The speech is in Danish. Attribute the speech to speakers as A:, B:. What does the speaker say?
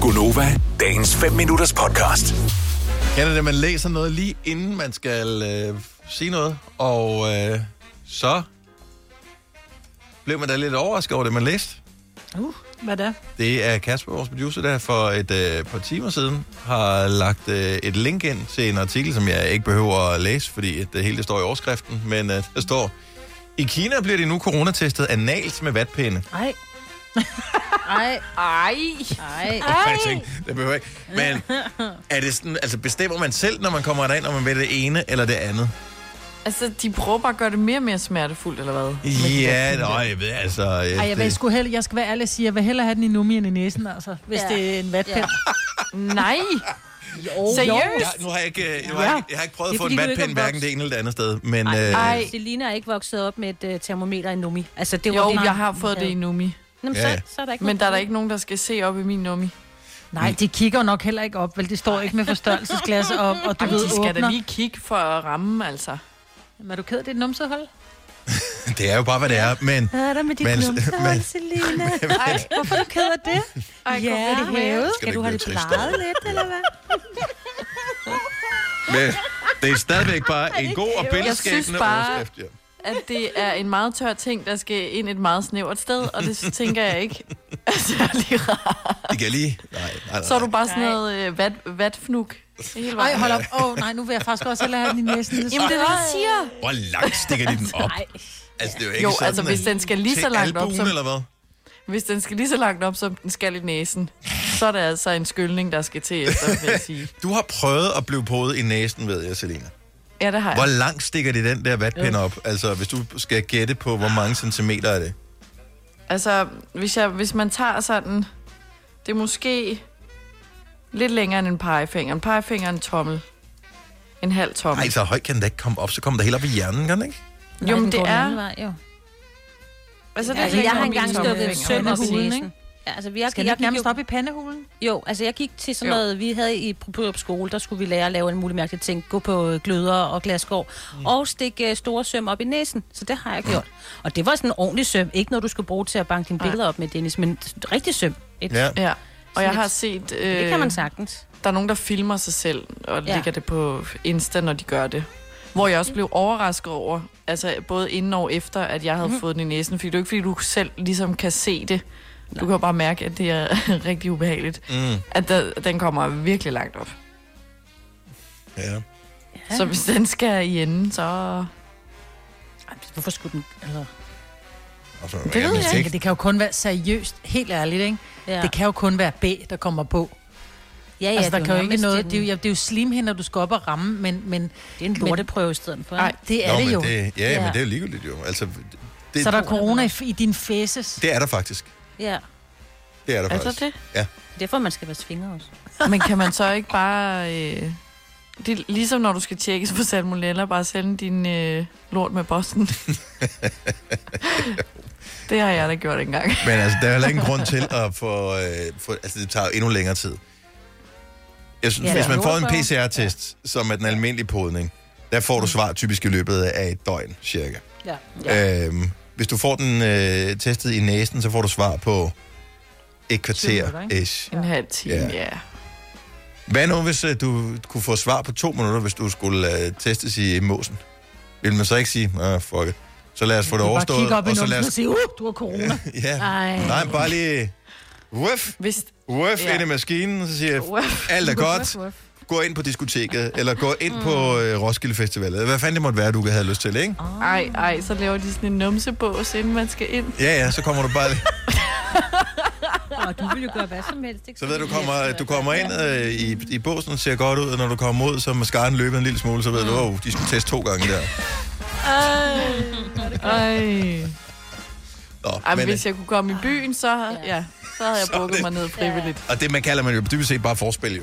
A: Gunova, dagens 5 minutters podcast.
B: Kender det, man læser noget lige inden man skal øh, sige noget, og øh, så blev man da lidt overrasket over det, man læste.
C: Uh, hvad da?
B: Det er Kasper, vores producer, der for et øh, par timer siden har lagt øh, et link ind til en artikel, som jeg ikke behøver at læse, fordi at det hele det står i overskriften, men øh, der står, i Kina bliver de nu coronatestet analt med vatpinde.
C: Ej.
D: Ej,
C: Ej.
D: ej.
B: Og jeg tænkte, det behøver jeg ikke. Men er det sådan, altså bestemmer man selv, når man kommer derind, om man vil det ene eller det andet?
D: Altså, de prøver bare at gøre det mere og mere smertefuldt, eller hvad?
B: Ja, nej, jeg ved altså...
C: Ej, jeg, vil sgu hellere, jeg skal være ærlig og sige, jeg vil hellere have den i nummi end i næsen, altså, hvis
D: Ja.
C: ja. det er en vatpind. Ja.
D: Nej!
B: Ja,
D: Seriøst?
B: nu har jeg ikke, øh, nu har jeg, ikke- jeg har ikke prøvet at få en vatpind hverken det ene eller det andet sted, men... øh,
D: Ej.
E: Selina er ikke vokset op med et øh, termometer i nummi. Altså, det var
D: Jo,
E: det,
D: jeg har fået det i nummi.
E: Jamen,
B: Ja, ja.
E: så, så er der ikke
D: Men
E: noget
D: der er der
E: problem.
D: ikke nogen, der skal se op i min nummi.
C: Nej, de kigger jo nok heller ikke op, vel? Det står ikke med forstørrelsesglas op, og du
D: Jamen,
C: ved,
D: de skal da
C: åbner.
D: lige kigge for at ramme, altså.
C: Jamen, er du ked af dit numsehul?
B: Det er jo bare, hvad det er, men...
E: Hvad er der med dit
B: Men- men-
E: numsehul, Selina? Ej, hvorfor er du ked af det?
D: Ej,
E: Ja, er det hævet?
B: Skal
E: Skal
B: det
E: du have
B: ikke
E: det
B: blive
E: plejet lidt, eller hvad?
B: Men det er stadigvæk bare en god og
D: Jeg synes
B: billedskabende
D: bare-
B: overskrift, ja.
D: At det er en meget tør ting, der skal ind et meget snævert sted, og det tænker jeg ikke er særlig rart.
B: Det kan jeg lige... Nej, nej, nej.
D: Så er du bare sådan noget øh, vat, vatfnuk. Hele
C: Nej,
D: vejen.
C: hold op. Åh, oh, nej, nu vil jeg faktisk også hellere have den i næsen. Det
D: Jamen, det er det, jeg siger.
B: Hvor langt stikker de den op? Altså, det er jo ikke
D: Jo,
B: sådan,
D: altså, hvis
B: at-
D: den skal lige
B: til
D: så langt op,
B: albuen,
D: som-
B: eller hvad?
D: Hvis den skal lige så langt op, som den skal i næsen, så er det altså en skyldning, der skal til efter, vil jeg sige.
B: Du har prøvet at blive podet i næsen, ved jeg, Selina.
D: Ja, det har
B: Hvor
D: jeg.
B: langt stikker de den der vatpind op? Altså, hvis du skal gætte på, hvor mange centimeter er det?
D: Altså, hvis, jeg, hvis man tager sådan, det er måske lidt længere end en pegefinger. En pegefinger er en tommel. En halv tommel.
B: Nej, så højt kan den da ikke komme op. Så kommer der helt op i hjernen, kan den ikke?
D: Jo, men
E: den
D: det
E: går den
D: er-
E: anden vej, jo.
D: altså,
E: Altså, jeg har
D: om
E: engang
D: min
E: stukket en
D: tommelfinger
E: søm
D: under
E: op i
D: huden,
E: næsen.
D: ikke?
E: Ja, altså, vi har,
C: Skal den
E: jeg
C: ikke
E: gik
C: nærmest
E: jo,
C: op i pandehulen?
E: jo, altså jeg gik til sådan
D: Jo.
E: noget, vi havde i på, på skole, der skulle vi lære at lave en mulig mærkelig ting, gå på øh, gløder og glaskår, mm. og stikke øh, store søm op i næsen, så det har jeg gjort. Og det var sådan en ordentlig søm, ikke noget du skulle bruge til at banke dine
D: Nej.
E: billeder op med, Dennis, men rigtig søm. Et,
B: Ja.
D: Ja, og
E: Sådan
D: jeg har
E: lidt-
D: set, øh,
E: Det kan man sagtens.
D: der er nogen, der filmer sig selv og ja.
E: Ja.
D: lægger det på Insta, når de gør det. Hvor jeg også blev overrasket over, altså både inden og efter, at jeg havde mm. fået den i næsen. Fordi det er jo ikke, fordi du selv ligesom kan se det. Du kan jo bare mærke, at det er rigtig ubehageligt. Mm. At der, den kommer virkelig langt op.
B: Ja.
D: Ja. Så hvis den skal i enden, så...
E: Ej, Hvorfor skulle den... Altså,
B: Altså,
C: Det
B: jeg
C: ved jeg
B: vidste
C: ikke. Det kan jo kun være seriøst, helt ærligt, ikke?
E: Ja.
C: Ja. Det kan jo kun være B, der kommer på.
E: ja, ja,
C: Ja, altså, der
E: det
C: kan
E: er
C: jo ikke
E: nærmest
C: noget...
E: en-
C: Det er jo, ja, det er jo slimhinder, du skal op og ramme, men, men
E: Det er en lorteprøve i stedet for.
D: Ej.
E: Ej.
C: det er
B: Nå,
C: Nå, det
B: men
C: jo. Det,
B: Det, ja, ja, men
E: Ja.
B: det er jo ligegyldigt jo. Altså, det,
C: så der er corona i, i din fæses.
B: det er der faktisk.
E: Ja.
B: Det er der
D: Er der
C: Altså,
B: faktisk.
D: det?
B: Ja.
E: Derfor man skal vaske fingre også.
D: Men kan man så ikke bare... Øh, det er ligesom når du skal tjekkes for salmonella, bare sende din øh, lort med bossen. det har jeg da gjort engang.
B: Men altså, der er heller ingen grund til at få... Øh, få altså, det tager jo endnu længere tid. Jeg synes,
E: Ja,
B: ja, hvis
E: det er
B: man får en
E: jordprøver.
B: PCR-test, som er den almindelige podning, der
C: Mm.
B: får du svar typisk i løbet af et døgn, cirka.
E: Ja.
B: Ja. Øhm, hvis du får den øh, testet i næsen, så får du svar på et kvarter.
C: minutter,
B: Ish.
D: En halv time,
B: Ja.
D: ja. ja.
B: Hvad nu, hvis øh, du kunne få svar på to minutter, hvis du skulle øh, testes i måsen? Vil man så ikke sige, ah, fuck it. Så lad os få det
C: Du bare
B: overstået,
C: kigge op i
B: og så lad
C: numsen og
B: os...
C: sige, uh, du har corona.
B: Ja.
E: Ej.
B: Nej, bare lige... Wuff,
D: Hvis,
B: wuff
D: Ja.
B: ind i maskinen, så siger jeg,
D: Wuff.
B: alt er godt. Gå ind på diskoteket, eller gå ind
D: Mm.
B: på øh, Roskilde Festival, eller hvad fanden det måtte være, du havde lyst til, ikke?
D: ej, ej, så laver de sådan en numsebås, inden man skal ind.
B: Ja, ja, så kommer du bare...
E: Og du vil jo gøre hvad som helst, ikke?
B: Så ved du, kommer, du kommer ind øh, i, i båsen, ser godt ud, og når du kommer ud, så er mascaraen løbet en lille smule, så ved du,
D: Mm.
B: oh, de skulle teste to gange der.
D: Ej.
B: Nå,
D: Ej, men
B: men, øh,
D: hvis jeg kunne komme i byen, så, ja, så havde jeg
B: Så er
D: brugt
B: det-
D: mig ned frivilligt.
B: Og det, man kalder man jo dybest set bare forspil, jo.